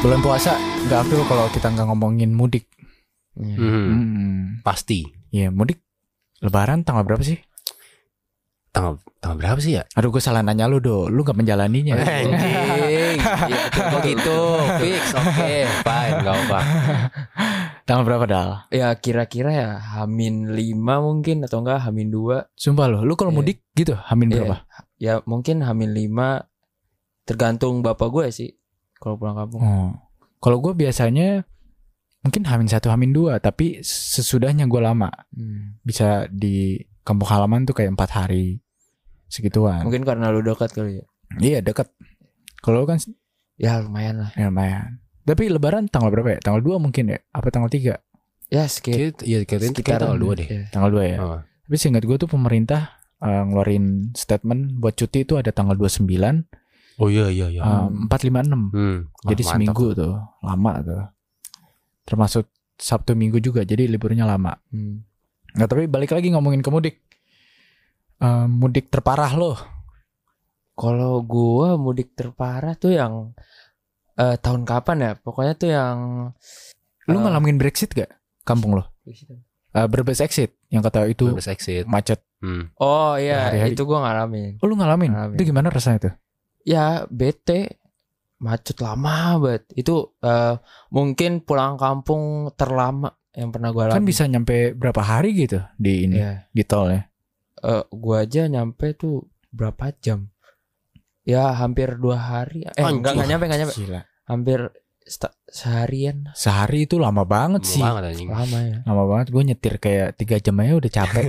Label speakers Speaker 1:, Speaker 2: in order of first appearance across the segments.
Speaker 1: bulan puasa nggak Abdul kalau kita nggak ngomongin mudik.
Speaker 2: Iya.
Speaker 3: Hmm,
Speaker 1: Hmm.
Speaker 3: Pasti.
Speaker 1: Iya mudik. Lebaran tanggal berapa sih?
Speaker 3: Tanggal tanggal berapa sih ya?
Speaker 1: Aduh gue salah nanya lu do, lu nggak menjalaninya.
Speaker 2: Oh,
Speaker 3: Anjing. Iya, betul. Oh gitu. Fix. Oke, fine, enggak apa.
Speaker 1: tanggal berapa dal?
Speaker 2: Ya kira-kira ya Hamin 5 mungkin atau enggak Hamin 2
Speaker 1: Sumpah lo, lu kalau
Speaker 2: Iya.
Speaker 1: mudik gitu hamin
Speaker 2: Iya.
Speaker 1: berapa?
Speaker 2: Ya mungkin Hamin 5 Tergantung bapak gue sih Kalau pulang kampung
Speaker 1: Oh. Kalau gue biasanya mungkin hamin satu hamin dua, tapi sesudahnya gue lama
Speaker 2: Hmm.
Speaker 1: bisa di kampung halaman tuh kayak empat hari
Speaker 3: Nah.
Speaker 1: segituan.
Speaker 2: Mungkin karena lu dekat kali ya
Speaker 1: Iya deket. Kalau lu kan
Speaker 2: Ya lumayan lah
Speaker 1: ya lumayan. Tapi Lebaran tanggal berapa ya? Tanggal 2 mungkin ya? Apa tanggal 3? Iya,
Speaker 2: Ya sekitar
Speaker 3: Kita ya kirain kita tanggal dua deh.
Speaker 2: Iya.
Speaker 1: Tanggal 2 ya.
Speaker 3: Oh.
Speaker 1: Tapi seingat gue tuh pemerintah eh, ngeluarin statement buat cuti itu ada tanggal 29, sembilan eh,
Speaker 3: Oh iya iya iya.
Speaker 1: empat 456.
Speaker 3: Hmm. Wah,
Speaker 1: Ah. Jadi
Speaker 3: mantap.
Speaker 1: seminggu tuh, lama tuh. Termasuk Sabtu Minggu juga, jadi liburnya lama.
Speaker 2: Hmm.
Speaker 1: Nah tapi balik lagi ngomongin ke mudik. Eh, mudik terparah loh.
Speaker 2: Kalau gua mudik terparah tuh yang eh, tahun kapan ya? Pokoknya tuh yang
Speaker 1: Lu
Speaker 2: Eh.
Speaker 1: ngalamin Brexit gak? Kampung lo? Eh Brebes exit yang kata itu
Speaker 3: Bebas exit.
Speaker 1: macet.
Speaker 3: Hmm.
Speaker 2: Oh iya,
Speaker 1: Hari-hari.
Speaker 2: itu gua ngalamin.
Speaker 1: Oh, lu ngalamin?
Speaker 2: Ngalamin.
Speaker 1: Itu gimana rasanya tuh?
Speaker 2: Ya, bete macet lama banget. Itu eh, mungkin pulang kampung terlama yang pernah gua
Speaker 1: Kan
Speaker 2: alami.
Speaker 1: bisa nyampe berapa hari gitu di ini
Speaker 2: Iya.
Speaker 1: di tol ya?
Speaker 2: Eh, gua aja nyampe tuh berapa jam? Ya, hampir dua hari. Eh,
Speaker 3: Anjing.
Speaker 2: enggak, enggak nyampe, enggak nyampe.
Speaker 1: Gila.
Speaker 2: Hampir sta- seharian.
Speaker 1: Sehari itu lama banget
Speaker 3: Lama
Speaker 1: sih.
Speaker 3: Banget anjing.
Speaker 2: Lama ya.
Speaker 1: Lama banget gue nyetir kayak tiga jam aja udah capek.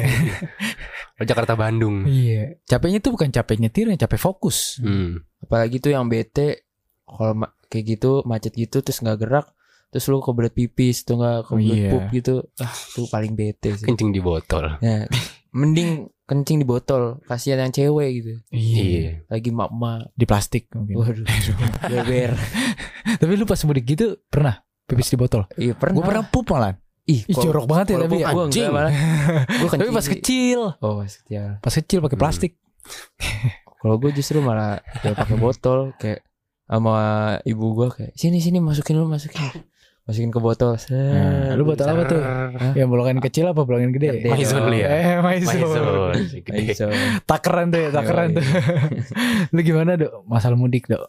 Speaker 3: Jakarta Bandung.
Speaker 1: Ah. iya. Capeknya tuh bukan capek nyetirnya, capek fokus.
Speaker 3: Hmm.
Speaker 2: apalagi tuh yang bete kalau ma- kayak gitu macet gitu terus nggak gerak terus lu kebelet pipis tuh nggak kebelet
Speaker 1: Iya.
Speaker 2: pup gitu ah tuh paling bete sih
Speaker 3: Kencing di botol.
Speaker 2: ya, mending kencing di botol kasihan yang cewek gitu
Speaker 3: Iya.
Speaker 2: lagi mak mak
Speaker 1: Di plastik mungkin.
Speaker 2: waduh beber
Speaker 1: Tapi lu pas mudik gitu pernah pipis di botol?
Speaker 2: iya pernah
Speaker 1: Gue pernah pup malah.
Speaker 2: ih
Speaker 1: Ih, jorok banget ya tapi ya.
Speaker 2: gue
Speaker 3: anjing.
Speaker 2: enggak malah gue kencing
Speaker 1: Tapi pas
Speaker 2: di-
Speaker 1: kecil,
Speaker 2: oh pas kecil
Speaker 1: pas kecil pakai
Speaker 3: Hmm.
Speaker 1: plastik.
Speaker 2: kalau gue justru malah ya pakai botol kayak sama ibu gue kayak sini sini masukin lu masukin masukin ke botol
Speaker 1: Nah, lu botol apa tuh? Yang Ya, bolongan kecil apa bolongan gede?
Speaker 2: Gede. Maizun
Speaker 3: lu ya?
Speaker 1: Eh, maizun.
Speaker 3: Maizun. Gede.
Speaker 2: Ayo,
Speaker 1: Takeran tuh ya, takeran tuh. Lu gimana, Dok? Masalah mudik, Dok.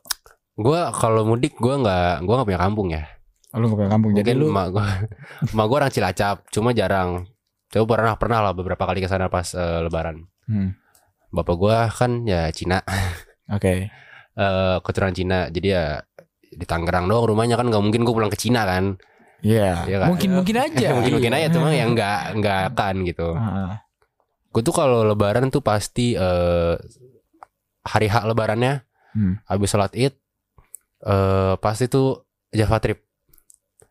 Speaker 3: Gua kalau mudik gua nggak gua nggak punya kampung ya.
Speaker 1: Lu gak punya kampung, jadi
Speaker 3: Mungkin
Speaker 1: lu
Speaker 3: emak gua emak gua orang Cilacap, cuma jarang. Coba pernah pernah lah beberapa kali ke sana pas eh, lebaran.
Speaker 1: Hmm,
Speaker 3: Bapak gua kan ya Cina,
Speaker 1: Oke.
Speaker 3: eh keturunan Cina. Jadi ya di Tangerang doang rumahnya kan nggak mungkin gua pulang ke Cina kan.
Speaker 1: Iya.
Speaker 3: Iya, kan?
Speaker 1: Mungkin-mungkin aja. Ah,
Speaker 3: Mungkin-mungkin
Speaker 1: Iya.
Speaker 3: aja cuma ya nggak nggak akan gitu.
Speaker 1: Heeh.
Speaker 3: Gue tuh kalau lebaran tuh pasti eh hari hak lebarannya
Speaker 1: Hmm.
Speaker 3: habis sholat id eh pasti tuh Java trip.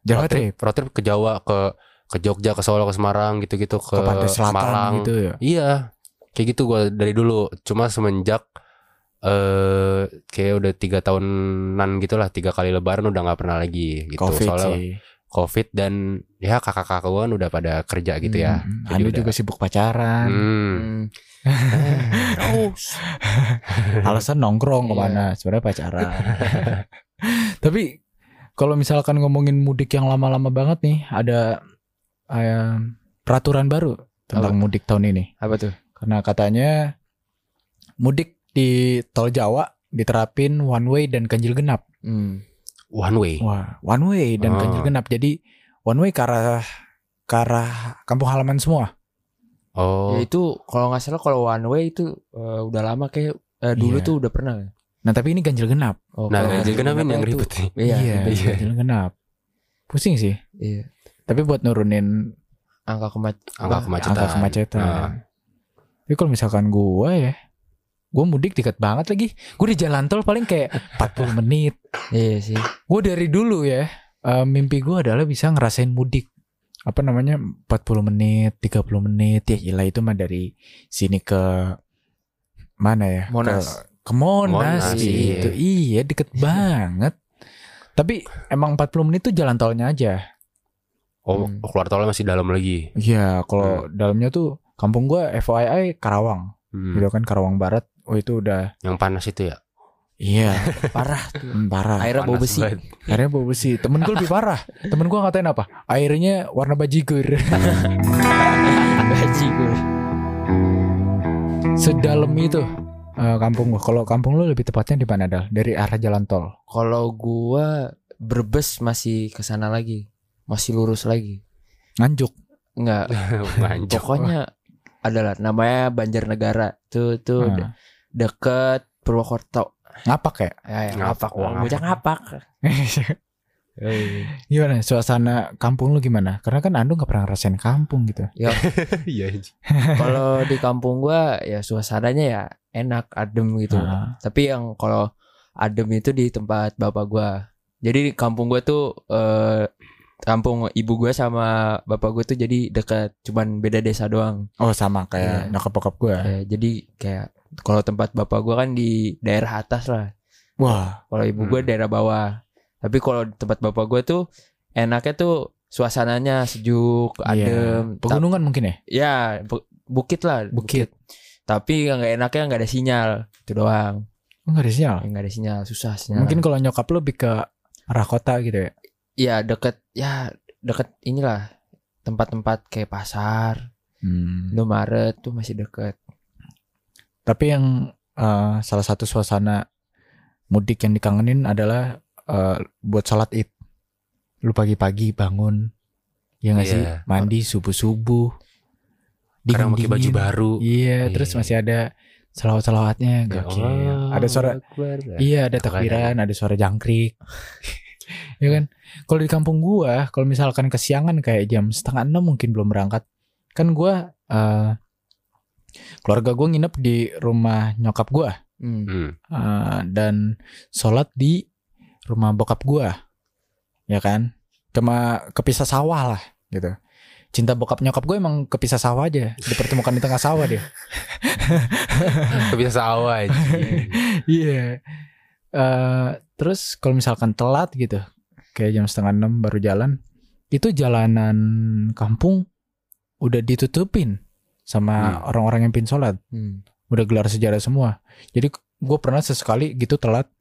Speaker 1: Jawa trip
Speaker 3: Road trip ke Jawa, ke ke Jogja, ke Solo, ke Semarang gitu-gitu
Speaker 1: ke
Speaker 3: ke,
Speaker 1: pantai selatan
Speaker 3: Malang.
Speaker 1: gitu ya.
Speaker 3: Iya. Kayak gitu gue dari dulu. Cuma semenjak eh kayak udah tiga tahunan gitulah tiga kali lebaran udah nggak pernah lagi gitu
Speaker 1: Covid
Speaker 3: soalnya
Speaker 1: sih.
Speaker 3: covid dan ya kakak-kakak gue udah pada kerja gitu ya
Speaker 1: Hmm,
Speaker 3: Jadi
Speaker 1: Anda
Speaker 3: udah-
Speaker 1: juga sibuk pacaran.
Speaker 3: Hmm.
Speaker 2: Hmm.
Speaker 3: Hmm.
Speaker 1: Alasan nongkrong
Speaker 2: Iya.
Speaker 1: kemana? Sebenarnya pacaran. Tapi kalau misalkan ngomongin mudik yang lama-lama banget nih, ada eh, peraturan baru tentang mudik tahun ini.
Speaker 2: apa tuh
Speaker 1: Karena katanya mudik di tol Jawa diterapin one way dan ganjil genap.
Speaker 2: hmm.
Speaker 3: one way
Speaker 1: Wah, one way dan
Speaker 3: Oh.
Speaker 1: ganjil genap. Jadi one way ke arah ke arah kampung halaman semua.
Speaker 3: oh
Speaker 2: Ya itu kalau nggak salah kalau one way itu eh, udah lama kayak eh, dulu
Speaker 1: Iya.
Speaker 2: tuh udah pernah.
Speaker 1: Nah, tapi ini ganjil genap.
Speaker 2: Oh,
Speaker 3: nah
Speaker 2: kalau
Speaker 3: ganjil
Speaker 2: ganjil
Speaker 3: genap ini
Speaker 2: genapnya
Speaker 3: yang
Speaker 2: tuh-
Speaker 3: ribet nih
Speaker 2: Iya.
Speaker 1: iya,
Speaker 3: iya.
Speaker 1: ganjil genap. Pusing sih.
Speaker 2: iya.
Speaker 1: Tapi buat nurunin
Speaker 2: Angka kemacetan.
Speaker 3: angka kemacetan
Speaker 1: angka kemacetan.
Speaker 3: Nah.
Speaker 1: Tapi kalau misalkan gua ya, gua mudik dekat banget lagi. Gua di jalan tol paling kayak 40 menit.
Speaker 2: Iya sih.
Speaker 1: Gue dari dulu ya, eh, mimpi gua adalah bisa ngerasain mudik. Apa namanya, 40 menit, 30 menit. Ya gila itu mah dari sini ke mana ya?
Speaker 2: Monas.
Speaker 1: Ke, ke Monas,
Speaker 3: Monas,
Speaker 1: gitu. Iya,
Speaker 3: iya.
Speaker 1: deket banget. Tapi emang 40 menit tuh jalan tolnya aja.
Speaker 3: oh
Speaker 2: Hmm.
Speaker 3: keluar tolnya masih dalam lagi
Speaker 1: Iya, kalau dalamnya tuh kampung gua FYI Karawang,
Speaker 3: Hmm.
Speaker 1: gitu kan Karawang Barat. Oh itu udah
Speaker 3: yang panas itu ya
Speaker 1: Iya,
Speaker 2: parah tuh
Speaker 1: hmm, parah.
Speaker 2: airnya
Speaker 3: Panas
Speaker 2: bau besi
Speaker 3: banget.
Speaker 1: Airnya bau besi. Temen gue lebih parah. Temen gue ngatain apa? Airnya warna bajigur.
Speaker 2: gaji gue
Speaker 1: Sedalam itu eh, kampung gue. Kalau kampung lu lebih tepatnya di mana dal? Dari arah jalan tol.
Speaker 2: kalau gua berbes masih ke sana lagi masih lurus lagi
Speaker 1: Nganjuk.
Speaker 2: enggak
Speaker 3: Nganjuk.
Speaker 2: pokoknya adalah namanya Banjarnegara tuh tuh de-
Speaker 1: Nah,
Speaker 2: deket Purwokerto
Speaker 1: ngapak ya?
Speaker 2: ya, ya,
Speaker 3: Ngapak,
Speaker 2: ngapak
Speaker 3: wah,
Speaker 2: bocah ngapak
Speaker 1: Gimana suasana kampung lu gimana? Karena kan Ando nggak pernah ngerasain kampung gitu.
Speaker 3: Iya. anjing.
Speaker 2: kalau di kampung gua ya suasananya ya enak adem gitu
Speaker 1: Ah.
Speaker 2: tapi yang kalau adem itu di tempat bapak gua jadi di kampung gua tuh eh, kampung ibu gua sama bapak gua tuh jadi dekat cuman beda desa doang
Speaker 1: Oh sama kayak
Speaker 2: Iya.
Speaker 1: nyokap bokap gue.
Speaker 2: Kayak- jadi kayak kalau tempat bapak gua kan di daerah atas lah
Speaker 1: Wah,
Speaker 2: kalau ibu gua
Speaker 3: Hmm.
Speaker 2: daerah bawah tapi kalau di tempat bapak gua tuh enaknya tuh suasananya sejuk adem
Speaker 1: iya. Pegunungan mungkin ya?
Speaker 2: Ya, bu- bukit lah,
Speaker 1: Bukit.
Speaker 2: Tapi yang nggak enaknya nggak ada sinyal, itu doang.
Speaker 1: Enggak Oh, ada sinyal.
Speaker 2: Yang nggak ada sinyal, susah
Speaker 3: Ya.
Speaker 2: sinyal.
Speaker 1: Mungkin kalau nyokap lu lebih ke arah kota gitu ya.
Speaker 2: ya deket, ya deket inilah tempat-tempat kayak pasar,
Speaker 1: Hmm.
Speaker 2: Indomaret tuh masih deket.
Speaker 1: Tapi yang eh, salah satu suasana mudik yang dikangenin adalah eh, buat sholat id. Lu pagi-pagi bangun, ya nggak sih?
Speaker 3: Iya.
Speaker 1: Mandi subuh-suh,
Speaker 3: Kadang pakai baju
Speaker 1: dingin-dingin.
Speaker 3: baru.
Speaker 1: Iya,
Speaker 3: Iya. Ya
Speaker 1: terus masih ada selawat-selawatnya, gokil. ada suara, iya ada
Speaker 3: Itu kan
Speaker 1: takbiran, ada suara jangkrik. ya kan? Kalau di kampung gua, kalau misalkan kesiangan kayak jam setengah enam mungkin belum berangkat, kan gua eh, keluarga gua nginep di rumah nyokap gua.
Speaker 2: Hmm.
Speaker 3: Hmm.
Speaker 1: Uh, dan sholat di rumah bokap gua ya kan cuma kepisah sawah lah gitu cinta bokap nyokap gue emang kepisah sawah aja dipertemukan di tengah sawah dia
Speaker 3: Tapi bisa sawah anjing.
Speaker 1: iya Eh, terus kalau misalkan telat gitu kayak jam setengah enam baru jalan itu jalanan kampung udah ditutupin sama
Speaker 3: Hmm.
Speaker 1: orang-orang yang pin sholat
Speaker 2: Hmm.
Speaker 1: udah gelar sejarah semua. Jadi gue pernah sesekali gitu telat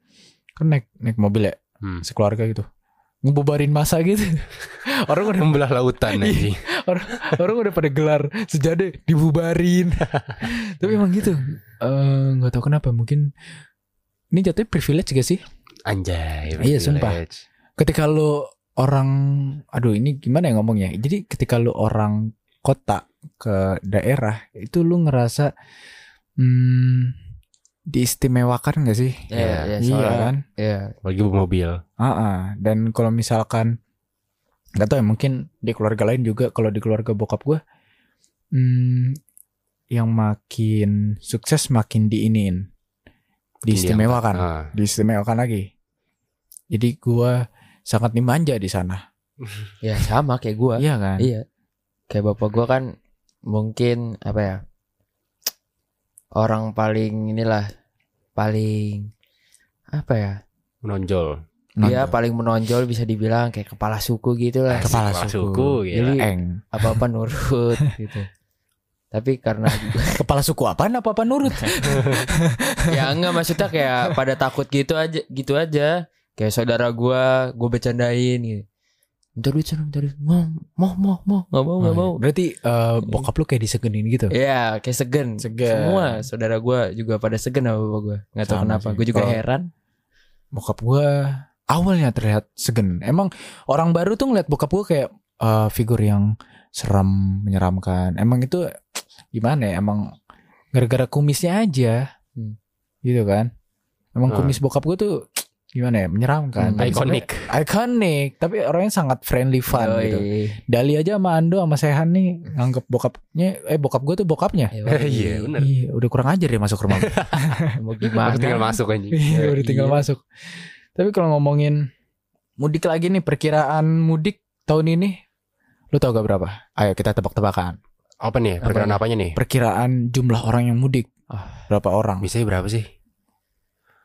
Speaker 1: kan naik naik mobil ya
Speaker 3: Hmm.
Speaker 1: sekeluarga gitu ngebubarin masa gitu orang udah
Speaker 3: Membelah
Speaker 1: Iya.
Speaker 3: lautan anjing.
Speaker 1: orang udah pada gelar sejadah dibubarin tapi emang gitu Eh, nggak tahu kenapa mungkin ini jatuhnya privilege gak sih
Speaker 3: Anjay.
Speaker 1: Iya, sumpah.
Speaker 3: privilege.
Speaker 1: ketika lu orang aduh ini gimana ya ngomongnya jadi ketika lu orang kota ke daerah itu lu ngerasa hmm, diistimewakan gak sih
Speaker 2: Ya, ya,
Speaker 1: iya
Speaker 2: soalnya-
Speaker 1: kan
Speaker 2: ya.
Speaker 3: Lagi bawa mobil.
Speaker 1: Ah, dan kalau misalkan nggak tahu ya mungkin di keluarga lain juga kalau di keluarga bokap gue, hmm, yang makin sukses makin diinin, diistimewakan,
Speaker 3: Ah.
Speaker 1: diistimewakan lagi. Jadi gue sangat dimanja di sana,
Speaker 2: ya sama kayak gua.
Speaker 1: iya kan?
Speaker 2: Iya. Kayak bapak gua kan mungkin apa ya? Orang paling inilah paling apa ya?
Speaker 3: Menonjol.
Speaker 2: Dia
Speaker 1: Nonton.
Speaker 2: paling menonjol bisa dibilang kayak kepala suku gitu lah.
Speaker 1: Kepala
Speaker 3: Kepala
Speaker 1: suku.
Speaker 3: suku,
Speaker 2: Jadi
Speaker 1: Eng.
Speaker 2: apa-apa nurut gitu. Tapi karena
Speaker 1: Kepala suku apaan apa apa nurut?
Speaker 2: ya enggak maksudnya kayak pada takut gitu aja gitu aja. Kayak saudara gua, gua bercandain gitu. Minta duit sana, minta duit. Mau, mau, mau, mau. Nggak mau,
Speaker 1: Oh,
Speaker 2: nggak mau.
Speaker 1: iya. Berarti eh, bokap lu kayak disegenin gitu.
Speaker 2: Iya, kayak segen.
Speaker 1: Segen.
Speaker 2: Semua saudara gua juga pada segen sama bapak gua. Enggak tahu
Speaker 1: Sama
Speaker 2: kenapa.
Speaker 1: sih.
Speaker 2: Gua juga
Speaker 1: Kalau-
Speaker 2: heran.
Speaker 1: bokap gue awalnya terlihat segen. Emang orang baru tuh ngeliat bokap gue kayak eh, figur yang serem, menyeramkan. Emang itu gimana ya? Emang gara-gara kumisnya aja,
Speaker 2: Hmm. Ah.
Speaker 1: gitu kan? Emang
Speaker 3: Hmm.
Speaker 1: kumis bokap gue tuh gimana ya? Menyeramkan.
Speaker 2: Hmm.
Speaker 1: Tapi
Speaker 3: Iconic.
Speaker 1: sebenarnya- Iconic. Tapi orangnya sangat friendly fun
Speaker 2: Yoi.
Speaker 1: gitu. Dali aja sama Ando sama Sehan nih nganggep bokapnya, eh bokap gue tuh bokapnya.
Speaker 2: Ya, Yoi.
Speaker 3: Iya, bener.
Speaker 1: Iya, udah kurang ajar ya masuk rumah gue.
Speaker 2: Mau
Speaker 3: Baru
Speaker 2: gimana?
Speaker 3: tinggal masuk anjing.
Speaker 1: Iya,
Speaker 2: Ya,
Speaker 1: udah tinggal
Speaker 2: iya.
Speaker 1: masuk. Tapi kalau ngomongin mudik lagi nih, perkiraan mudik tahun ini, lu tau gak berapa? Ayo kita tebak-tebakan.
Speaker 3: Apa nih? Perkiraan apanya nih?
Speaker 1: Perkiraan jumlah orang yang mudik,
Speaker 2: Ah.
Speaker 1: berapa orang?
Speaker 3: Biasanya berapa sih?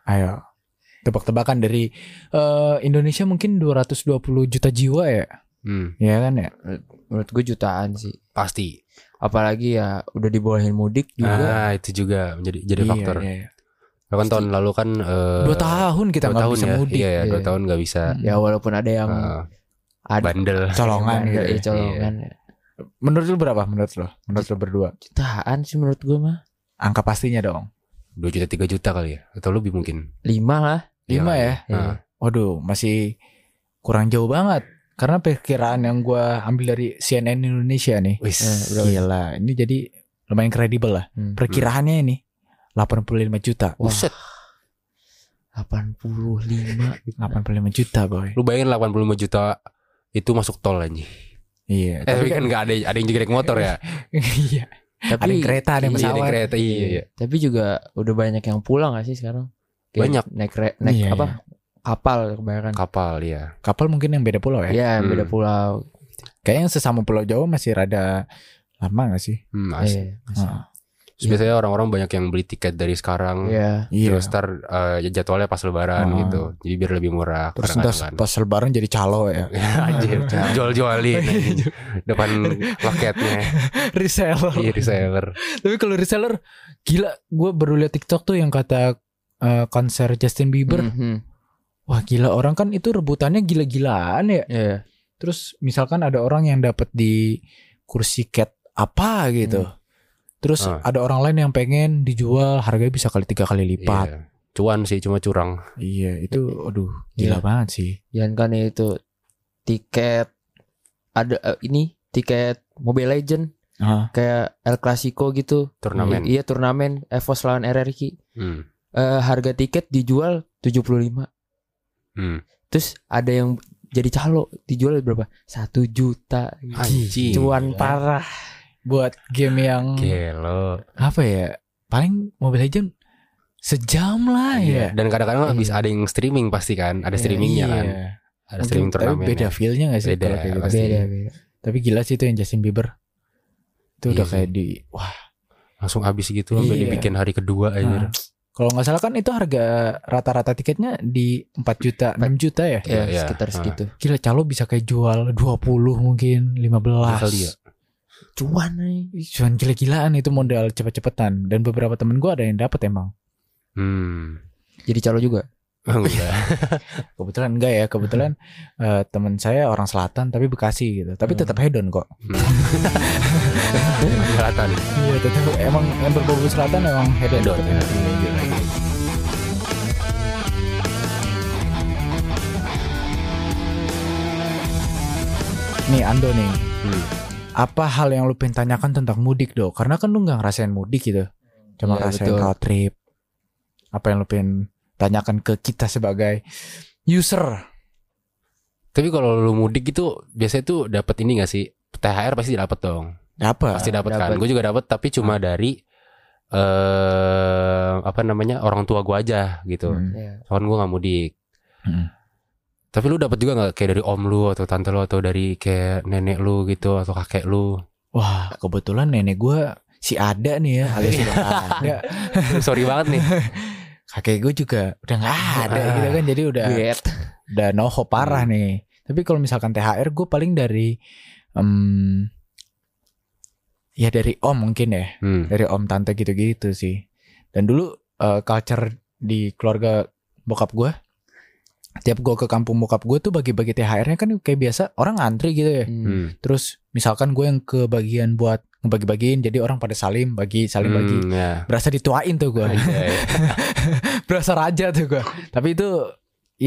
Speaker 1: Ayo, tebak-tebakan dari eh, Indonesia mungkin 220 juta jiwa ya,
Speaker 3: Hmm,
Speaker 1: ya kan ya?
Speaker 2: Menurut gua jutaan sih.
Speaker 3: pasti.
Speaker 2: Apalagi ya udah dibolehin mudik juga.
Speaker 1: Ah.
Speaker 3: Ah, itu juga menjadi jadi
Speaker 1: Iya,
Speaker 3: faktor.
Speaker 1: iya, iya.
Speaker 3: kan tahun lalu kan eh,
Speaker 1: dua tahun kita
Speaker 3: dua
Speaker 1: nggak
Speaker 3: tahun
Speaker 1: bisa
Speaker 3: ya.
Speaker 1: mudik
Speaker 3: Iya, ya, dua
Speaker 2: Iya.
Speaker 3: tahun nggak bisa
Speaker 1: Hmm.
Speaker 2: Ya walaupun ada yang
Speaker 3: eh,
Speaker 2: ada
Speaker 3: bandel.
Speaker 1: colongan
Speaker 2: Iya,
Speaker 1: gitu
Speaker 2: iya,
Speaker 1: ya.
Speaker 2: colongan.
Speaker 1: menurut lu berapa menurut lu menurut lu berdua
Speaker 2: Jutaan sih menurut gua mah.
Speaker 1: angka pastinya dong
Speaker 3: 2 juta 3 juta kali ya atau lebih mungkin.
Speaker 2: Lima lah.
Speaker 1: lima
Speaker 3: Iya,
Speaker 1: ya
Speaker 3: Heeh.
Speaker 1: waduh masih kurang jauh banget karena perkiraan yang gua ambil dari CNN Indonesia nih
Speaker 3: Wis.
Speaker 2: Eh, berapa?
Speaker 1: gila ini jadi lumayan kredibel lah
Speaker 2: Hmm.
Speaker 1: perkiraannya ini 85 juta
Speaker 2: Wah.
Speaker 3: Buset.
Speaker 2: 85
Speaker 1: 85 juta boy
Speaker 3: Lu bayangin 85 juta itu masuk tol anjing.
Speaker 1: iya
Speaker 3: Eh, tapi kan nggak ada ada yang naik motor ya.
Speaker 1: iya
Speaker 2: Tapi
Speaker 1: ada yang kereta ya? ada yang
Speaker 3: Iya, ada
Speaker 1: pesawat
Speaker 3: kereta iya, iya.
Speaker 2: Tapi juga udah banyak yang pulang gak sih sekarang?
Speaker 3: Banyak.
Speaker 2: naik re- naik
Speaker 1: Iya,
Speaker 2: apa? Kapal kebanyakan.
Speaker 3: Kapal ya.
Speaker 1: kapal mungkin yang beda pulau ya
Speaker 2: Iya,
Speaker 3: Hmm.
Speaker 2: beda pulau.
Speaker 1: kayaknya yang sesama pulau Jawa masih rada lama gak sih
Speaker 3: Hmm, asik.
Speaker 2: Iya.
Speaker 1: Ah,
Speaker 3: Terus biasanya orang-orang banyak yang beli tiket dari sekarang.
Speaker 2: Iya.
Speaker 1: iya
Speaker 3: Terus ntar eh, jadwalnya pas
Speaker 1: Ah.
Speaker 3: lebaran gitu. Jadi biar lebih murah.
Speaker 1: terus ntar
Speaker 3: kadang-kadang kan.
Speaker 1: pas lebaran jadi calo ya
Speaker 3: Anjir, jual-jualin anjing. depan loketnya.
Speaker 1: reseller
Speaker 3: Iya, reseller.
Speaker 1: Tapi kalau reseller gila, gue baru liat TikTok tuh yang kata eh, konser Justin
Speaker 3: Hmm.
Speaker 1: Bieber.
Speaker 2: Mhm.
Speaker 1: Wah gila orang kan itu rebutannya gila-gilaan ya.
Speaker 2: Iya.
Speaker 1: Terus misalkan ada orang yang dapat di kursi cat apa gitu. Terus
Speaker 3: Hmm. Ah.
Speaker 1: ada orang lain yang pengen dijual harganya bisa kali tiga kali lipat.
Speaker 3: Iya. Cuan sih cuma curang.
Speaker 1: Iya itu, aduh gila
Speaker 2: Iya.
Speaker 1: banget sih.
Speaker 2: Jangan kan itu tiket ada eh, ini tiket Mobile Legend
Speaker 1: Ah.
Speaker 2: kayak El Clasico gitu.
Speaker 3: Turnamen.
Speaker 2: Iya, turnamen EVOS lawan RRQ.
Speaker 3: Hmm.
Speaker 2: Eh, harga tiket dijual 75.
Speaker 3: Hmm.
Speaker 2: Terus ada yang jadi calo dijual berapa? Satu juta.
Speaker 3: Anjing. Iya.
Speaker 1: Gila.
Speaker 2: Cuan parah.
Speaker 1: Buat game yang
Speaker 3: Gelo.
Speaker 1: apa ya? Paling Mobile Legend sejam lah
Speaker 3: Iya.
Speaker 1: ya.
Speaker 3: Dan kadang-kadang
Speaker 1: Iya.
Speaker 3: bisa ada yang streaming pasti kan, ada streamingnya
Speaker 1: Iya.
Speaker 3: kan, ada streaming
Speaker 1: Mungkin- tapi
Speaker 3: turnamen.
Speaker 1: beda feelnya gak sih
Speaker 3: Beda,
Speaker 1: kalau kayak gitu?
Speaker 3: pasti.
Speaker 2: Beda, beda.
Speaker 1: Tapi gila sih itu yang Justin Bieber. Itu
Speaker 3: Iya
Speaker 1: udah
Speaker 3: sih.
Speaker 1: kayak di wah.
Speaker 3: Langsung habis gitu sampai
Speaker 1: Iya.
Speaker 3: dibikin hari kedua
Speaker 1: Nah,
Speaker 3: aja.
Speaker 1: Kalau nggak salah kan itu harga rata-rata tiketnya di 4 juta, 6 juta ya.
Speaker 3: Iya,
Speaker 2: Ya,
Speaker 3: iya.
Speaker 2: sekitar
Speaker 3: Ah.
Speaker 2: segitu.
Speaker 1: Gila calo bisa kayak jual 20 mungkin, 15.
Speaker 3: Kali ya.
Speaker 2: Cuan eh. nih.
Speaker 1: Ih, Cuman gila-gilaan itu modal cepet-cepetan dan beberapa temen gua ada yang dapat emang.
Speaker 3: Hmm. Ah,
Speaker 2: Jadi calo juga.
Speaker 3: Enggak.
Speaker 1: Kebetulan enggak ya, kebetulan eh, temen saya orang selatan tapi Bekasi gitu. Tapi
Speaker 2: Hmm.
Speaker 1: tetap hedon kok.
Speaker 3: Kelihatan.
Speaker 1: Iya, tetap emang yang berbau selatan emang hedon.
Speaker 3: Hedon,
Speaker 1: Tetap- Hmm. Nih Ando nih,
Speaker 3: Hmm.
Speaker 1: apa hal yang lu pengen tanyakan tentang mudik dok? Karena kan lu nggak ngerasain mudik gitu, cuma
Speaker 2: Iya,
Speaker 1: ngerasain
Speaker 2: betul.
Speaker 1: road trip. Apa yang lu pengen tanyakan ke kita sebagai user?
Speaker 3: Tapi kalau lu mudik itu biasanya tuh dapat ini gak sih? THR pasti dapat dong.
Speaker 1: Apa?
Speaker 3: Pasti dapat kan.
Speaker 2: dapat.
Speaker 3: Gue juga dapat tapi
Speaker 1: Ah.
Speaker 3: cuma dari eh apa namanya? orang tua gue aja gitu.
Speaker 1: Hmm.
Speaker 2: Iya.
Speaker 3: Soalnya gue gak mudik.
Speaker 1: Hmm.
Speaker 3: Tapi lu dapat juga nggak kayak dari om lu atau tante lu atau dari kayak nenek lu gitu atau kakek lu?
Speaker 1: Wah, kebetulan nenek gue si ada nih ya, alias udah nggak ada.
Speaker 3: Sorry banget nih.
Speaker 1: Kakek gue juga udah nggak ada
Speaker 3: Ah.
Speaker 1: gitu kan, jadi udah
Speaker 2: Buet.
Speaker 1: udah no hope parah
Speaker 3: Hmm.
Speaker 1: nih. Tapi kalau misalkan THR gue paling dari em, ya dari om mungkin ya,
Speaker 3: Hmm.
Speaker 1: dari om tante gitu-gitu sih. Dan dulu eh, culture di keluarga bokap gue tiap gue ke kampung bokap gue tuh bagi-bagi THR-nya kan kayak biasa orang ngantri gitu ya.
Speaker 2: Hmm.
Speaker 3: Hmm.
Speaker 1: Terus misalkan gue yang ke bagian buat ngebagi-bagiin jadi orang pada salim bagi salim bagi.
Speaker 3: Hmm, ya. Iya,
Speaker 1: Berasa dituain tuh gue.
Speaker 3: Anjay.
Speaker 1: berasa raja tuh gue. Tapi itu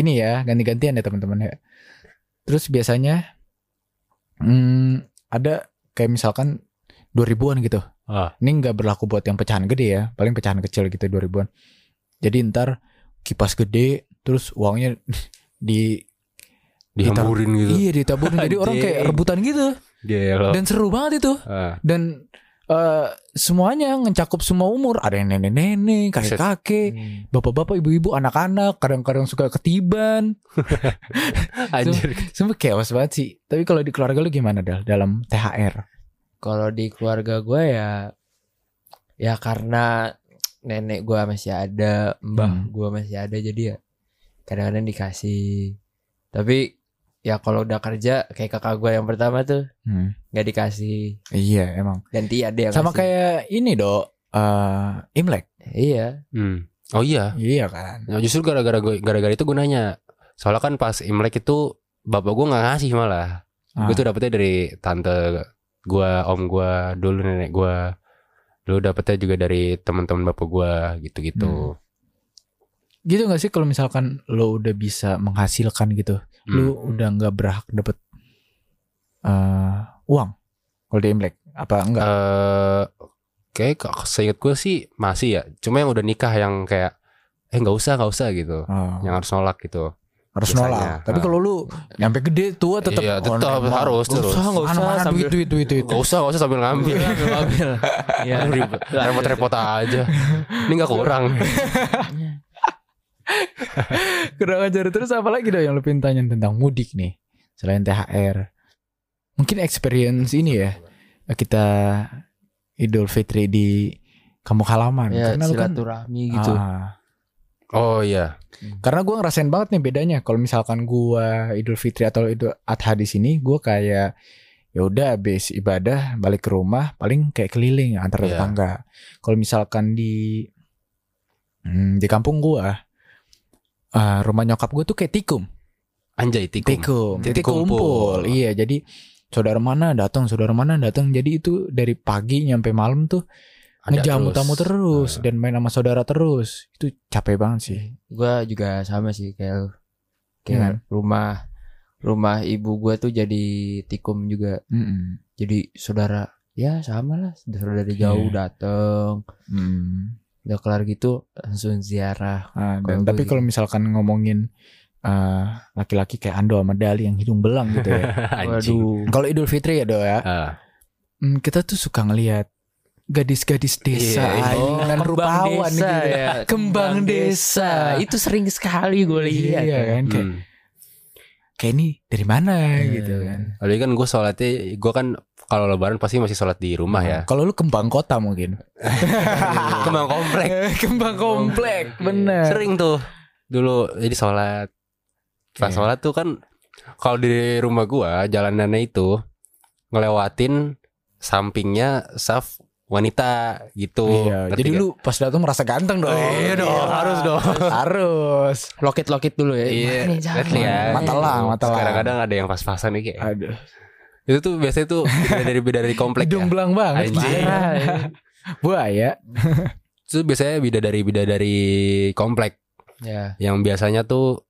Speaker 1: ini ya ganti-gantian ya teman-teman ya. Terus biasanya hmm, ada kayak misalkan 2000-an gitu.
Speaker 3: Ah.
Speaker 1: Ini nggak berlaku buat yang pecahan gede ya, paling pecahan kecil gitu 2000-an. Jadi ntar kipas gede terus uangnya di
Speaker 3: Dihamburin gitu.
Speaker 1: iya ditaburin jadi orang kayak
Speaker 3: Anjing. Oh.
Speaker 1: rebutan gitu
Speaker 3: Gelo.
Speaker 1: dan seru banget itu
Speaker 3: Ah.
Speaker 1: dan eh, semuanya mencakup semua umur ada yang nenek-nenek kakek-kakek
Speaker 2: Hmm.
Speaker 1: bapak-bapak, ibu-ibu, anak-anak, kadang-kadang suka ketiban.
Speaker 3: Anjir.
Speaker 1: Semua chaos banget sih. Tapi kalau di keluarga lu gimana Dal dalam THR?
Speaker 2: Kalau di keluarga gue ya ya karena nenek gue masih ada, mbah
Speaker 1: Hmm.
Speaker 2: gue masih ada jadi ya kadang-kadang dikasih. Tapi ya kalau udah kerja kayak kakak gue yang pertama tuh
Speaker 1: Hmm.
Speaker 2: nggak dikasih
Speaker 1: Iya emang.
Speaker 2: ganti ada yang
Speaker 1: Sama
Speaker 2: ngasih.
Speaker 1: kayak ini dok. eh Imlek.
Speaker 2: iya
Speaker 3: Hmm. Oh iya.
Speaker 1: Iya kan.
Speaker 3: Nah, justru gara-gara gua- gara-gara itu gunanya. Soalnya kan pas Imlek itu bapak gua nggak ngasih malah. Gue
Speaker 1: Ah.
Speaker 3: tuh dapetnya dari tante gua, om gua, dulu nenek gua. Dulu dapetnya juga dari teman-teman bapak gua gitu-gitu.
Speaker 1: Gitu gak sih kalau misalkan lo udah bisa menghasilkan gitu, lo
Speaker 3: Hmm.
Speaker 1: udah nggak berhak dapet eh, uang kalau di Imlek? Apa enggak?
Speaker 3: eh kayak kok seingat gue sih masih ya. Cuma yang udah nikah yang kayak eh nggak usah nggak usah gitu.
Speaker 1: Oh,
Speaker 3: Yang harus nolak gitu.
Speaker 1: harus
Speaker 3: biasanya.
Speaker 1: nolak. Tapi
Speaker 3: Ah.
Speaker 1: kalau lu nyampe gede tua tetap
Speaker 3: Iya, tetap harus terus.
Speaker 1: Usah,
Speaker 2: Nggak usah,
Speaker 1: mana, mana
Speaker 2: sambil-
Speaker 1: duit, duit, duit, duit.
Speaker 3: Gak usah, gak usah sambil ngambil.
Speaker 2: Ambil, ambil. Iya.
Speaker 3: Aduh, ribet. Ya. Repot-repot aja. Ini gak kurang.
Speaker 1: Kurang ajar terus apa lagi dong yang lu pengen tanyain tentang mudik nih selain THR. Mungkin experience ini ya kita Idul Fitri di kampung halaman
Speaker 2: Ya,
Speaker 1: karena lu kan
Speaker 2: silaturahmi gitu.
Speaker 1: Ah,
Speaker 3: Oh iya.
Speaker 1: karena gua ngerasain banget nih bedanya kalau misalkan gua Idul Fitri atau Idul Adha di sini gua kayak ya udah habis ibadah balik ke rumah paling kayak keliling antar
Speaker 3: Iya.
Speaker 1: tetangga. Kalau misalkan di hmm, di kampung gua ah, rumah nyokap gue tuh kayak tikum
Speaker 3: Anjay, tikum.
Speaker 1: Tikum.
Speaker 3: Jadi
Speaker 1: Jadi kumpul.
Speaker 3: kumpul.
Speaker 1: Iya, jadi saudara mana datang, saudara mana datang. Jadi itu dari pagi nyampe malam tuh
Speaker 3: Ada
Speaker 1: ngejamu tamu terus
Speaker 3: Eh,
Speaker 1: dan main sama saudara terus. Itu capek banget sih.
Speaker 2: Gua juga sama sih kayak lu.
Speaker 1: Iya kan?
Speaker 2: Kayak rumah rumah ibu gua tuh jadi tikum juga.
Speaker 1: Mm-mm.
Speaker 2: Jadi saudara ya sama lah saudara dari jauh
Speaker 1: Iya.
Speaker 2: dateng
Speaker 1: Mm.
Speaker 2: udah kelar gitu langsung ziarah
Speaker 1: Ah, dan
Speaker 2: Kalau
Speaker 1: tapi
Speaker 2: gue
Speaker 1: kalau misalkan ngomongin eh, laki-laki kayak Ando sama Dali yang hidung belang gitu ya.
Speaker 3: Anjing.
Speaker 1: kalau Idul Fitri ya, Do ya.
Speaker 3: Ah,
Speaker 1: mm, kita tuh suka ngelihat gadis-gadis desa
Speaker 3: Iya, iya.
Speaker 1: anjing, dan rupawan
Speaker 2: desa,
Speaker 1: gitu.
Speaker 2: ya.
Speaker 1: Kembang desa.
Speaker 2: Nah, itu sering sekali gue lihat ya.
Speaker 1: Iya kan kayak,
Speaker 3: hmm.
Speaker 1: kayak ini dari mana
Speaker 2: Iya.
Speaker 1: gitu kan.
Speaker 3: Apalagi kan gue sholatnya, gue kan kalau lebaran pasti masih sholat di rumah ya.
Speaker 1: Kalau lu kembang kota mungkin.
Speaker 3: Kembang komplek. Iya.
Speaker 1: kembang komplek,
Speaker 2: Komplek,
Speaker 1: bener.
Speaker 3: Sering tuh. Dulu jadi sholat. Pas
Speaker 1: Iya.
Speaker 3: sholat tuh kan kalau di rumah gua jalanannya itu ngelewatin sampingnya saf wanita gitu.
Speaker 1: Iya,
Speaker 3: Ngerti
Speaker 1: jadi
Speaker 3: nggak?
Speaker 1: lu pas datang merasa ganteng dong.
Speaker 3: Iya dong, harus dong.
Speaker 1: Harus.
Speaker 2: loket loket dulu ya
Speaker 3: Iya,
Speaker 2: Mana nih, jangan.
Speaker 3: lihat ya.
Speaker 1: Mata lang, mata lang.
Speaker 3: Kadang-kadang ada yang pas-pasan nih kayak.
Speaker 1: Aduh.
Speaker 3: Itu tuh biasanya tuh beda dari beda dari komplek ya.
Speaker 1: Hidung belang banget.
Speaker 3: Anjing.
Speaker 1: parah.
Speaker 2: Parah, ya.
Speaker 1: Buaya.
Speaker 3: Itu biasanya beda dari beda dari komplek
Speaker 2: ya
Speaker 3: yang biasanya tuh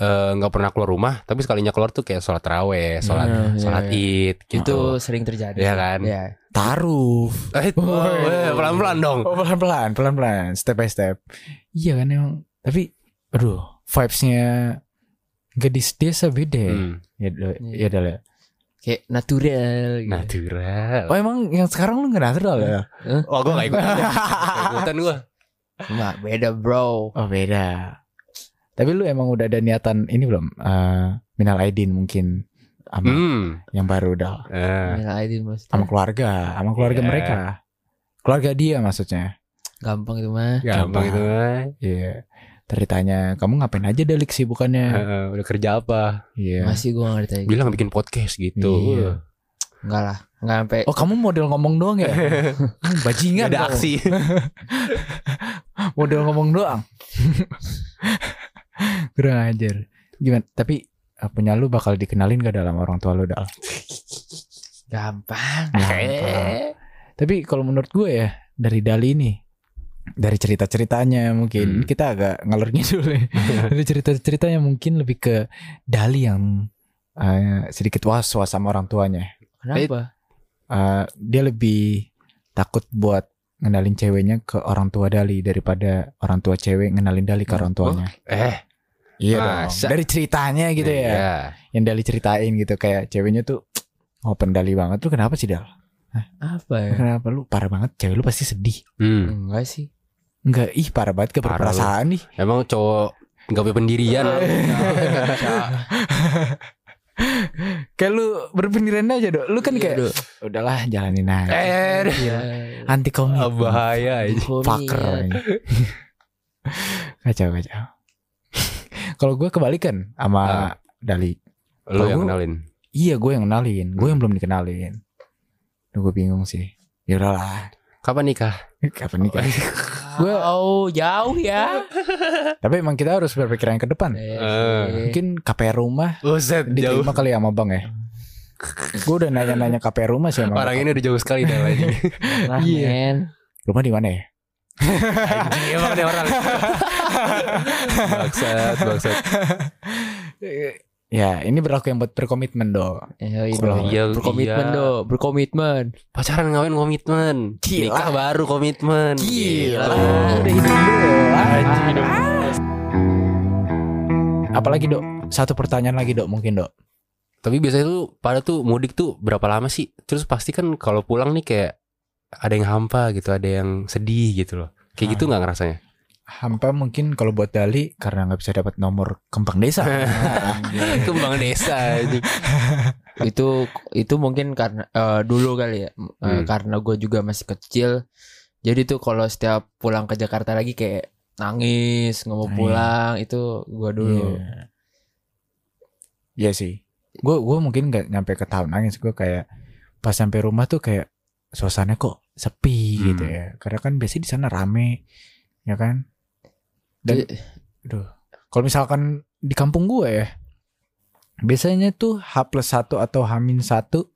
Speaker 3: eh, nggak pernah keluar rumah, tapi sekalinya keluar tuh kayak sholat raweh, sholat
Speaker 2: Iya, iya,
Speaker 3: sholat
Speaker 2: iya.
Speaker 3: id
Speaker 2: itu
Speaker 3: gitu.
Speaker 2: sering terjadi
Speaker 3: Iya kan?
Speaker 2: ya
Speaker 1: Taruh.
Speaker 3: Eh,
Speaker 1: Woi.
Speaker 3: eh, pelan-pelan dong.
Speaker 1: Oh, pelan-pelan, pelan-pelan, step by step. Iya kan emang. Tapi aduh, vibes-nya gadis desa beda ya.
Speaker 3: Hmm.
Speaker 1: Ya, Do-
Speaker 2: Iya.
Speaker 1: ya, Dal, ya.
Speaker 2: kayak natural gitu.
Speaker 3: Natural.
Speaker 1: Oh, emang yang sekarang lu nggak natural ya?
Speaker 3: Wah, gue gak ikutan. Nggak ikutan gue.
Speaker 2: Nah, beda bro
Speaker 1: Oh beda. Tapi lu emang udah ada niatan ini belum? Eh, Minal Aidin mungkin sama
Speaker 3: Hmm.
Speaker 1: yang baru udah
Speaker 3: Eh,
Speaker 2: Mila Aidin maksudnya
Speaker 1: sama keluarga, sama keluarga
Speaker 3: Iya.
Speaker 1: mereka. Keluarga dia maksudnya.
Speaker 2: gampang itu mah
Speaker 3: gampang itu. eh. mah.
Speaker 1: Iya. Teritanya kamu ngapain aja delik sih bukannya?
Speaker 3: Eh, udah kerja apa?
Speaker 1: Iya.
Speaker 2: masih gue ngerti gitu
Speaker 3: Bilang bikin podcast gitu.
Speaker 1: Iya.
Speaker 2: enggak lah enggak sampai
Speaker 1: Oh kamu model ngomong doang ya? Hmm, Bajingan
Speaker 3: Nggak ada
Speaker 1: kamu.
Speaker 3: aksi.
Speaker 1: Model ngomong doang. Kurang ajar. Gimana? Tapi eh, punya lu bakal dikenalin gak dalam orang tua lu Dal?
Speaker 2: gampang
Speaker 1: Gampang. Tapi kalau menurut gue ya dari Dali ini dari cerita-ceritanya mungkin
Speaker 3: Hmm.
Speaker 1: kita agak ngalur ngidul ya. dari cerita-ceritanya mungkin lebih ke Dali yang eh, sedikit was-was sama orang tuanya.
Speaker 2: kenapa
Speaker 1: Eh, dia lebih takut buat ngenalin ceweknya ke orang tua Dali daripada orang tua cewek ngenalin Dali ke orang tuanya.
Speaker 3: Eh,
Speaker 1: Iya
Speaker 3: masa?
Speaker 1: dong. Dari ceritanya gitu ya.
Speaker 3: Iya.
Speaker 1: Yang Dali ceritain gitu kayak ceweknya tuh open Dali banget. Lu kenapa sih Dal?
Speaker 2: apa ya
Speaker 1: Kenapa lu parah banget? Cewek lu pasti sedih.
Speaker 3: Hmm.
Speaker 2: enggak sih
Speaker 1: Enggak, ih parah banget ke
Speaker 3: Parah
Speaker 1: perasaan nih.
Speaker 3: Emang cowok nggak punya pendirian.
Speaker 1: Kayak lu berpendirian aja, Dok. Lu kan kayak
Speaker 2: Aduh.
Speaker 1: udahlah jalanin aja.
Speaker 3: Iya, eh,
Speaker 2: Iya.
Speaker 1: Anti komik.
Speaker 3: ah, bahaya. aja.
Speaker 1: Fucker. ini. kacau, kacau. Kalau gue kebalikan sama
Speaker 3: Ah.
Speaker 1: Dali.
Speaker 3: Lu
Speaker 1: Kalau
Speaker 3: yang
Speaker 1: gua-
Speaker 3: kenalin.
Speaker 1: Iya, gue yang kenalin. Gue yang
Speaker 3: Hmm.
Speaker 1: belum dikenalin. Duh, gue bingung sih. Ya udahlah.
Speaker 3: Kapan nikah?
Speaker 1: Kapan nikah? Gua-
Speaker 2: Wow, jauh ya.
Speaker 1: Tapi emang kita harus berpikiran ke depan.
Speaker 3: Eh.
Speaker 1: Hmm. Mungkin KPR rumah
Speaker 3: Buset jauh.
Speaker 1: diterima kali ya sama bang ya. Gue udah nanya-nanya KPR rumah sih sama
Speaker 3: Orang ini udah jauh sekali dari lagi.
Speaker 2: Iya.
Speaker 1: Rumah di mana ya?
Speaker 3: Anjing emang ada orang. bangsat, bangsat.
Speaker 1: Ya ini berlaku yang buat berkomitmen dong.
Speaker 2: Iya,
Speaker 1: Kurang.
Speaker 3: Iya,
Speaker 2: dong. berkomitmen
Speaker 3: iya.
Speaker 2: dong, berkomitmen.
Speaker 3: Pacaran ngawin komitmen.
Speaker 1: Gila.
Speaker 3: Nikah baru komitmen.
Speaker 1: Gila.
Speaker 3: Gitu.
Speaker 1: Udah hidup doang. Apalagi dok, satu pertanyaan lagi dok mungkin dok.
Speaker 3: Tapi biasanya tuh pada tuh mudik tuh berapa lama sih? Terus pasti kan kalau pulang nih kayak ada yang hampa gitu, ada yang sedih gitu loh. Kayak gitu nggak ngerasanya?
Speaker 1: Hampa mungkin kalau buat Dali karena nggak bisa dapat nomor kembang desa.
Speaker 3: Kembang desa anjing.
Speaker 2: itu itu mungkin karena eh, dulu kali ya
Speaker 3: Hmm.
Speaker 2: Eh, karena gue juga masih kecil jadi tuh kalau setiap pulang ke Jakarta lagi kayak nangis nggak mau
Speaker 1: Iya.
Speaker 2: pulang itu gue dulu
Speaker 1: Iya. Iya sih. Gue gue mungkin nggak nyampe ke tahun nangis gue kayak pas sampai rumah tuh kayak suasananya kok sepi
Speaker 3: Hmm.
Speaker 1: gitu ya. Karena kan biasanya di sana rame, ya kan. Dan
Speaker 2: Jadi-
Speaker 1: aduh, kalau misalkan di kampung gue ya, biasanya tuh H plus satu atau H min satu,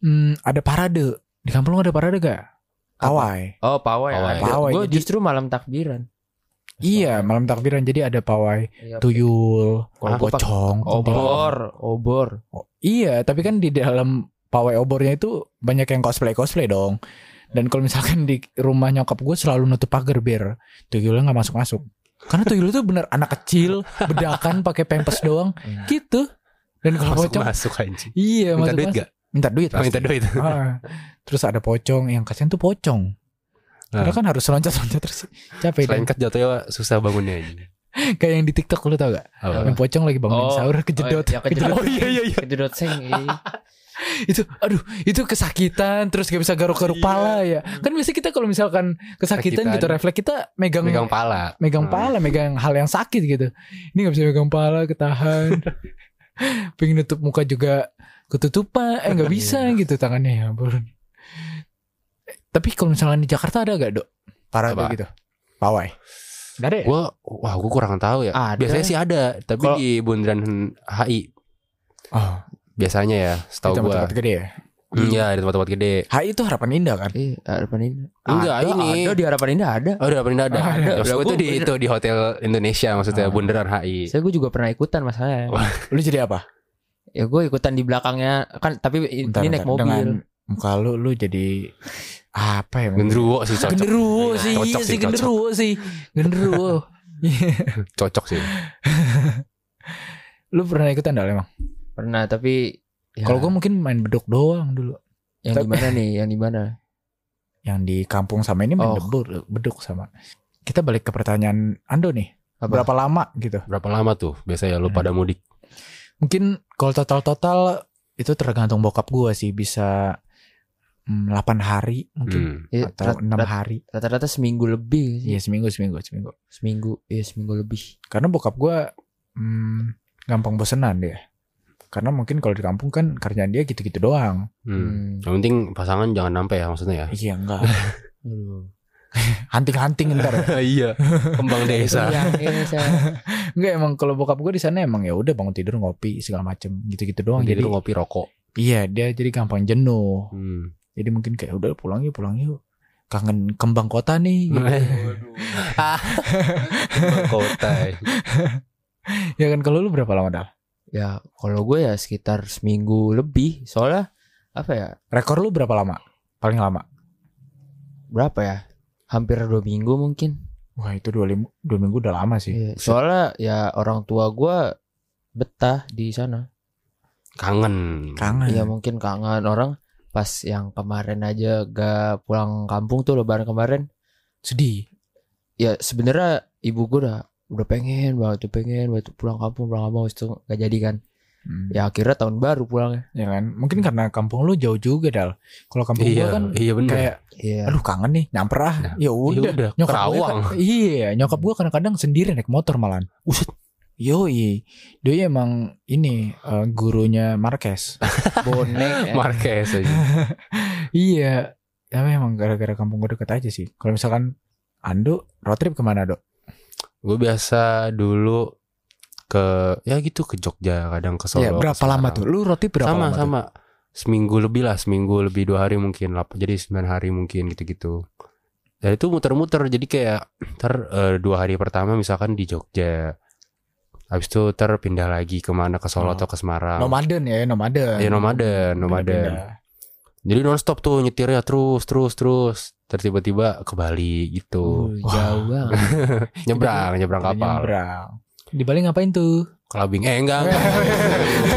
Speaker 1: hmm, ada parade. Di kampung lu ada parade gak? Pawai.
Speaker 2: oh pawai,
Speaker 3: Pawai.
Speaker 1: Pawai,
Speaker 2: gue
Speaker 1: jadi-
Speaker 2: justru malam takbiran
Speaker 1: Iya, malam takbiran jadi ada pawai
Speaker 2: Iya.
Speaker 1: tuyul,
Speaker 2: Kalau gua pakai
Speaker 1: pocong,
Speaker 2: obor obor
Speaker 1: Oh, iya, tapi kan di dalam pawai obornya itu banyak yang cosplay cosplay dong. Dan kalau misalkan di rumah nyokap gue selalu nutup pagar biar tuyulnya nggak masuk masuk. Karena tuyul itu bener anak kecil, bedakan pakai pempes doang, gitu. Dan kalau
Speaker 3: Iya. Masuk
Speaker 1: pocong,
Speaker 3: masuk anjing.
Speaker 1: iya
Speaker 3: Minta
Speaker 1: masuk
Speaker 3: duit
Speaker 1: masuk.
Speaker 3: gak?
Speaker 1: Minta duit. pasti.
Speaker 3: Minta duit.
Speaker 1: Ah. Terus ada pocong, yang kasihan tuh pocong. Karena
Speaker 3: Ah.
Speaker 1: kan harus loncat-loncat terus capek dan
Speaker 3: Lengket jatuhnya susah bangunnya anjing.
Speaker 1: kayak yang di TikTok lu tau gak?
Speaker 3: Apa?
Speaker 1: Yang pocong lagi bangunin
Speaker 2: Oh,
Speaker 1: sahur kejedot.
Speaker 2: oh, ya, kejedot.
Speaker 1: Oh, iya iya iya.
Speaker 2: kejedot seng iya.
Speaker 1: itu aduh itu kesakitan terus gak bisa garuk-garuk
Speaker 3: Iya.
Speaker 1: pala ya kan biasanya kita kalau misalkan kesakitan
Speaker 3: Sakitan.
Speaker 1: gitu refleks kita megang megang, Ah.
Speaker 3: Megang pala.
Speaker 1: pala
Speaker 3: Hmm.
Speaker 1: megang hal yang sakit gitu ini gak bisa megang pala ketahan pengen nutup muka juga ketutupan eh nggak bisa gitu tangannya ya ampun Eh, tapi kalau misalkan di Jakarta ada gak dok parah
Speaker 3: Apa?
Speaker 1: gitu pawai Nggak ada ya?
Speaker 3: Gue, wah gue kurang tahu ya.
Speaker 2: Ada.
Speaker 3: Biasanya sih ada, tapi
Speaker 2: Kalau-
Speaker 3: di bundaran HI
Speaker 1: oh,
Speaker 3: biasanya ya,
Speaker 1: di
Speaker 3: setahu gue.
Speaker 1: tempat-tempat gede ya
Speaker 3: Iya di tempat-tempat gede.
Speaker 1: HI itu harapan indah kan
Speaker 2: Ih, Eh, harapan indah
Speaker 3: Enggak,
Speaker 2: Ada,
Speaker 3: ini.
Speaker 2: ada di harapan indah ada
Speaker 3: Oh, udah pernah ada.
Speaker 1: Oh, ada.
Speaker 3: Maksud gue
Speaker 2: Lah,
Speaker 3: tuh di
Speaker 2: gua-
Speaker 3: itu di hotel Indonesia maksudnya
Speaker 1: Ah.
Speaker 3: bundaran HI.
Speaker 2: saya gue juga pernah ikutan masalahnya
Speaker 1: lu jadi apa
Speaker 2: Ya gue ikutan di belakangnya kan tapi i-
Speaker 1: Bentar,
Speaker 2: ini naik
Speaker 1: bentar.
Speaker 2: mobil.
Speaker 1: Dengan muka lu lu jadi apa ya?
Speaker 3: Genderuwo sih cocok.
Speaker 1: Genderuwo sih,
Speaker 3: Cocok
Speaker 1: iya
Speaker 3: sih,
Speaker 1: sih
Speaker 3: cocok.
Speaker 1: genderuwo sih. Genderuwo. Iya.
Speaker 3: Cocok sih.
Speaker 1: lu pernah ikutan enggak emang?
Speaker 2: Pernah tapi ya,
Speaker 1: Kalau gua mungkin main beduk doang dulu.
Speaker 2: yang di mana nih? Yang di mana?
Speaker 1: Yang di kampung sama ini main
Speaker 2: Oh.
Speaker 1: beduk, beduk sama. Kita balik ke pertanyaan Ando nih.
Speaker 2: Apa?
Speaker 1: Berapa lama gitu?
Speaker 3: Berapa lama tuh biasanya lu
Speaker 1: Hmm.
Speaker 3: pada mudik?
Speaker 1: Mungkin kalau total-total itu tergantung bokap gua sih bisa mm, 8 hari mungkin
Speaker 3: Hmm.
Speaker 2: Ya,
Speaker 1: atau
Speaker 2: rat-
Speaker 1: enam
Speaker 2: rat-
Speaker 1: hari.
Speaker 2: rata-rata seminggu lebih sih.
Speaker 1: Iya, seminggu seminggu seminggu.
Speaker 2: Seminggu, iya seminggu lebih.
Speaker 1: karena bokap gua hmm, gampang bosenan dia karena mungkin kalau di kampung kan kerjaan dia gitu-gitu doang
Speaker 3: Hmm.
Speaker 2: Hmm.
Speaker 3: Yang penting pasangan jangan sampai ya maksudnya ya.
Speaker 1: iya enggak
Speaker 2: Aduh.
Speaker 1: hunting-hunting ntar
Speaker 3: iya. Kembang desa.
Speaker 2: Iya, iya, saya.
Speaker 1: enggak emang kalau bokap gua di sana emang ya udah bangun tidur ngopi segala macem gitu-gitu doang
Speaker 3: Jadi
Speaker 1: Oh, jadi
Speaker 3: lu ngopi rokok.
Speaker 1: iya dia jadi gampang jenuh
Speaker 3: Hmm.
Speaker 1: jadi mungkin kayak udah pulang yuk pulang yuk kangen kembang kota nih
Speaker 2: Hmm.
Speaker 1: gitu.
Speaker 3: Ah. Kembang kota.
Speaker 1: ya kan kalau lu berapa lama dah
Speaker 2: ya, kalau gue ya sekitar seminggu lebih. Soalnya apa ya?
Speaker 1: rekor lu berapa lama paling lama
Speaker 2: Berapa ya? Hampir dua minggu mungkin.
Speaker 1: wah itu dua, lim- dua minggu udah lama sih
Speaker 2: Iya, Soalnya ya orang tua gue betah di sana.
Speaker 3: Kangen.
Speaker 1: kangen
Speaker 2: Iya mungkin kangen orang pas yang kemarin aja gak pulang kampung tuh lebaran kemarin.
Speaker 1: sedih
Speaker 2: Ya sebenarnya ibu gue udah udah pengen banget tuh pengen banget tuh pulang kampung pulang kampung habis itu gak jadi kan.
Speaker 1: Hmm.
Speaker 2: Ya akhirnya tahun baru pulangnya.
Speaker 1: ya kan mungkin karena kampung lu jauh juga dal kalau kampung gua
Speaker 3: Iya,
Speaker 1: kan
Speaker 3: iya benar.
Speaker 1: kayak
Speaker 2: Iya.
Speaker 1: aduh kangen nih nyamper ah
Speaker 3: Nah,
Speaker 1: ya udah
Speaker 3: udah,
Speaker 1: nyokap gua
Speaker 3: Kerawang.
Speaker 1: kan- iya nyokap gue kadang-kadang sendiri naik motor malahan uset yoi dia emang ini eh, gurunya Marquez
Speaker 2: Bonek.
Speaker 1: kan.
Speaker 2: ya.
Speaker 3: Marquez aja.
Speaker 1: Ya iya tapi emang gara-gara kampung gue deket aja sih kalau misalkan Andu road trip kemana dok?
Speaker 3: Gue biasa dulu ke ya gitu ke Jogja kadang ke Solo.
Speaker 1: Ya, berapa
Speaker 3: ke
Speaker 1: lama
Speaker 3: Semarang.
Speaker 1: tuh? Lu road trip berapa
Speaker 3: sama
Speaker 1: lama? tuh?
Speaker 3: sama seminggu lebih lah seminggu lebih dua hari mungkin lah jadi sembilan hari mungkin gitu-gitu dan itu muter-muter jadi kayak ter eh, dua hari pertama misalkan di Jogja habis itu terpindah lagi kemana ke
Speaker 1: Oh.
Speaker 3: Solo atau ke Semarang
Speaker 1: Nomaden ya, nomaden.
Speaker 3: ya nomaden nomaden
Speaker 1: Pindah-pindah.
Speaker 3: jadi nonstop tuh nyetirnya terus terus terus Terus tiba-tiba ke Bali gitu
Speaker 2: Wah. jauh banget.
Speaker 3: nyebrang nyebrang kapal
Speaker 1: Nyebrang. Di Bali ngapain tuh?
Speaker 3: clubbing eh enggak enggak.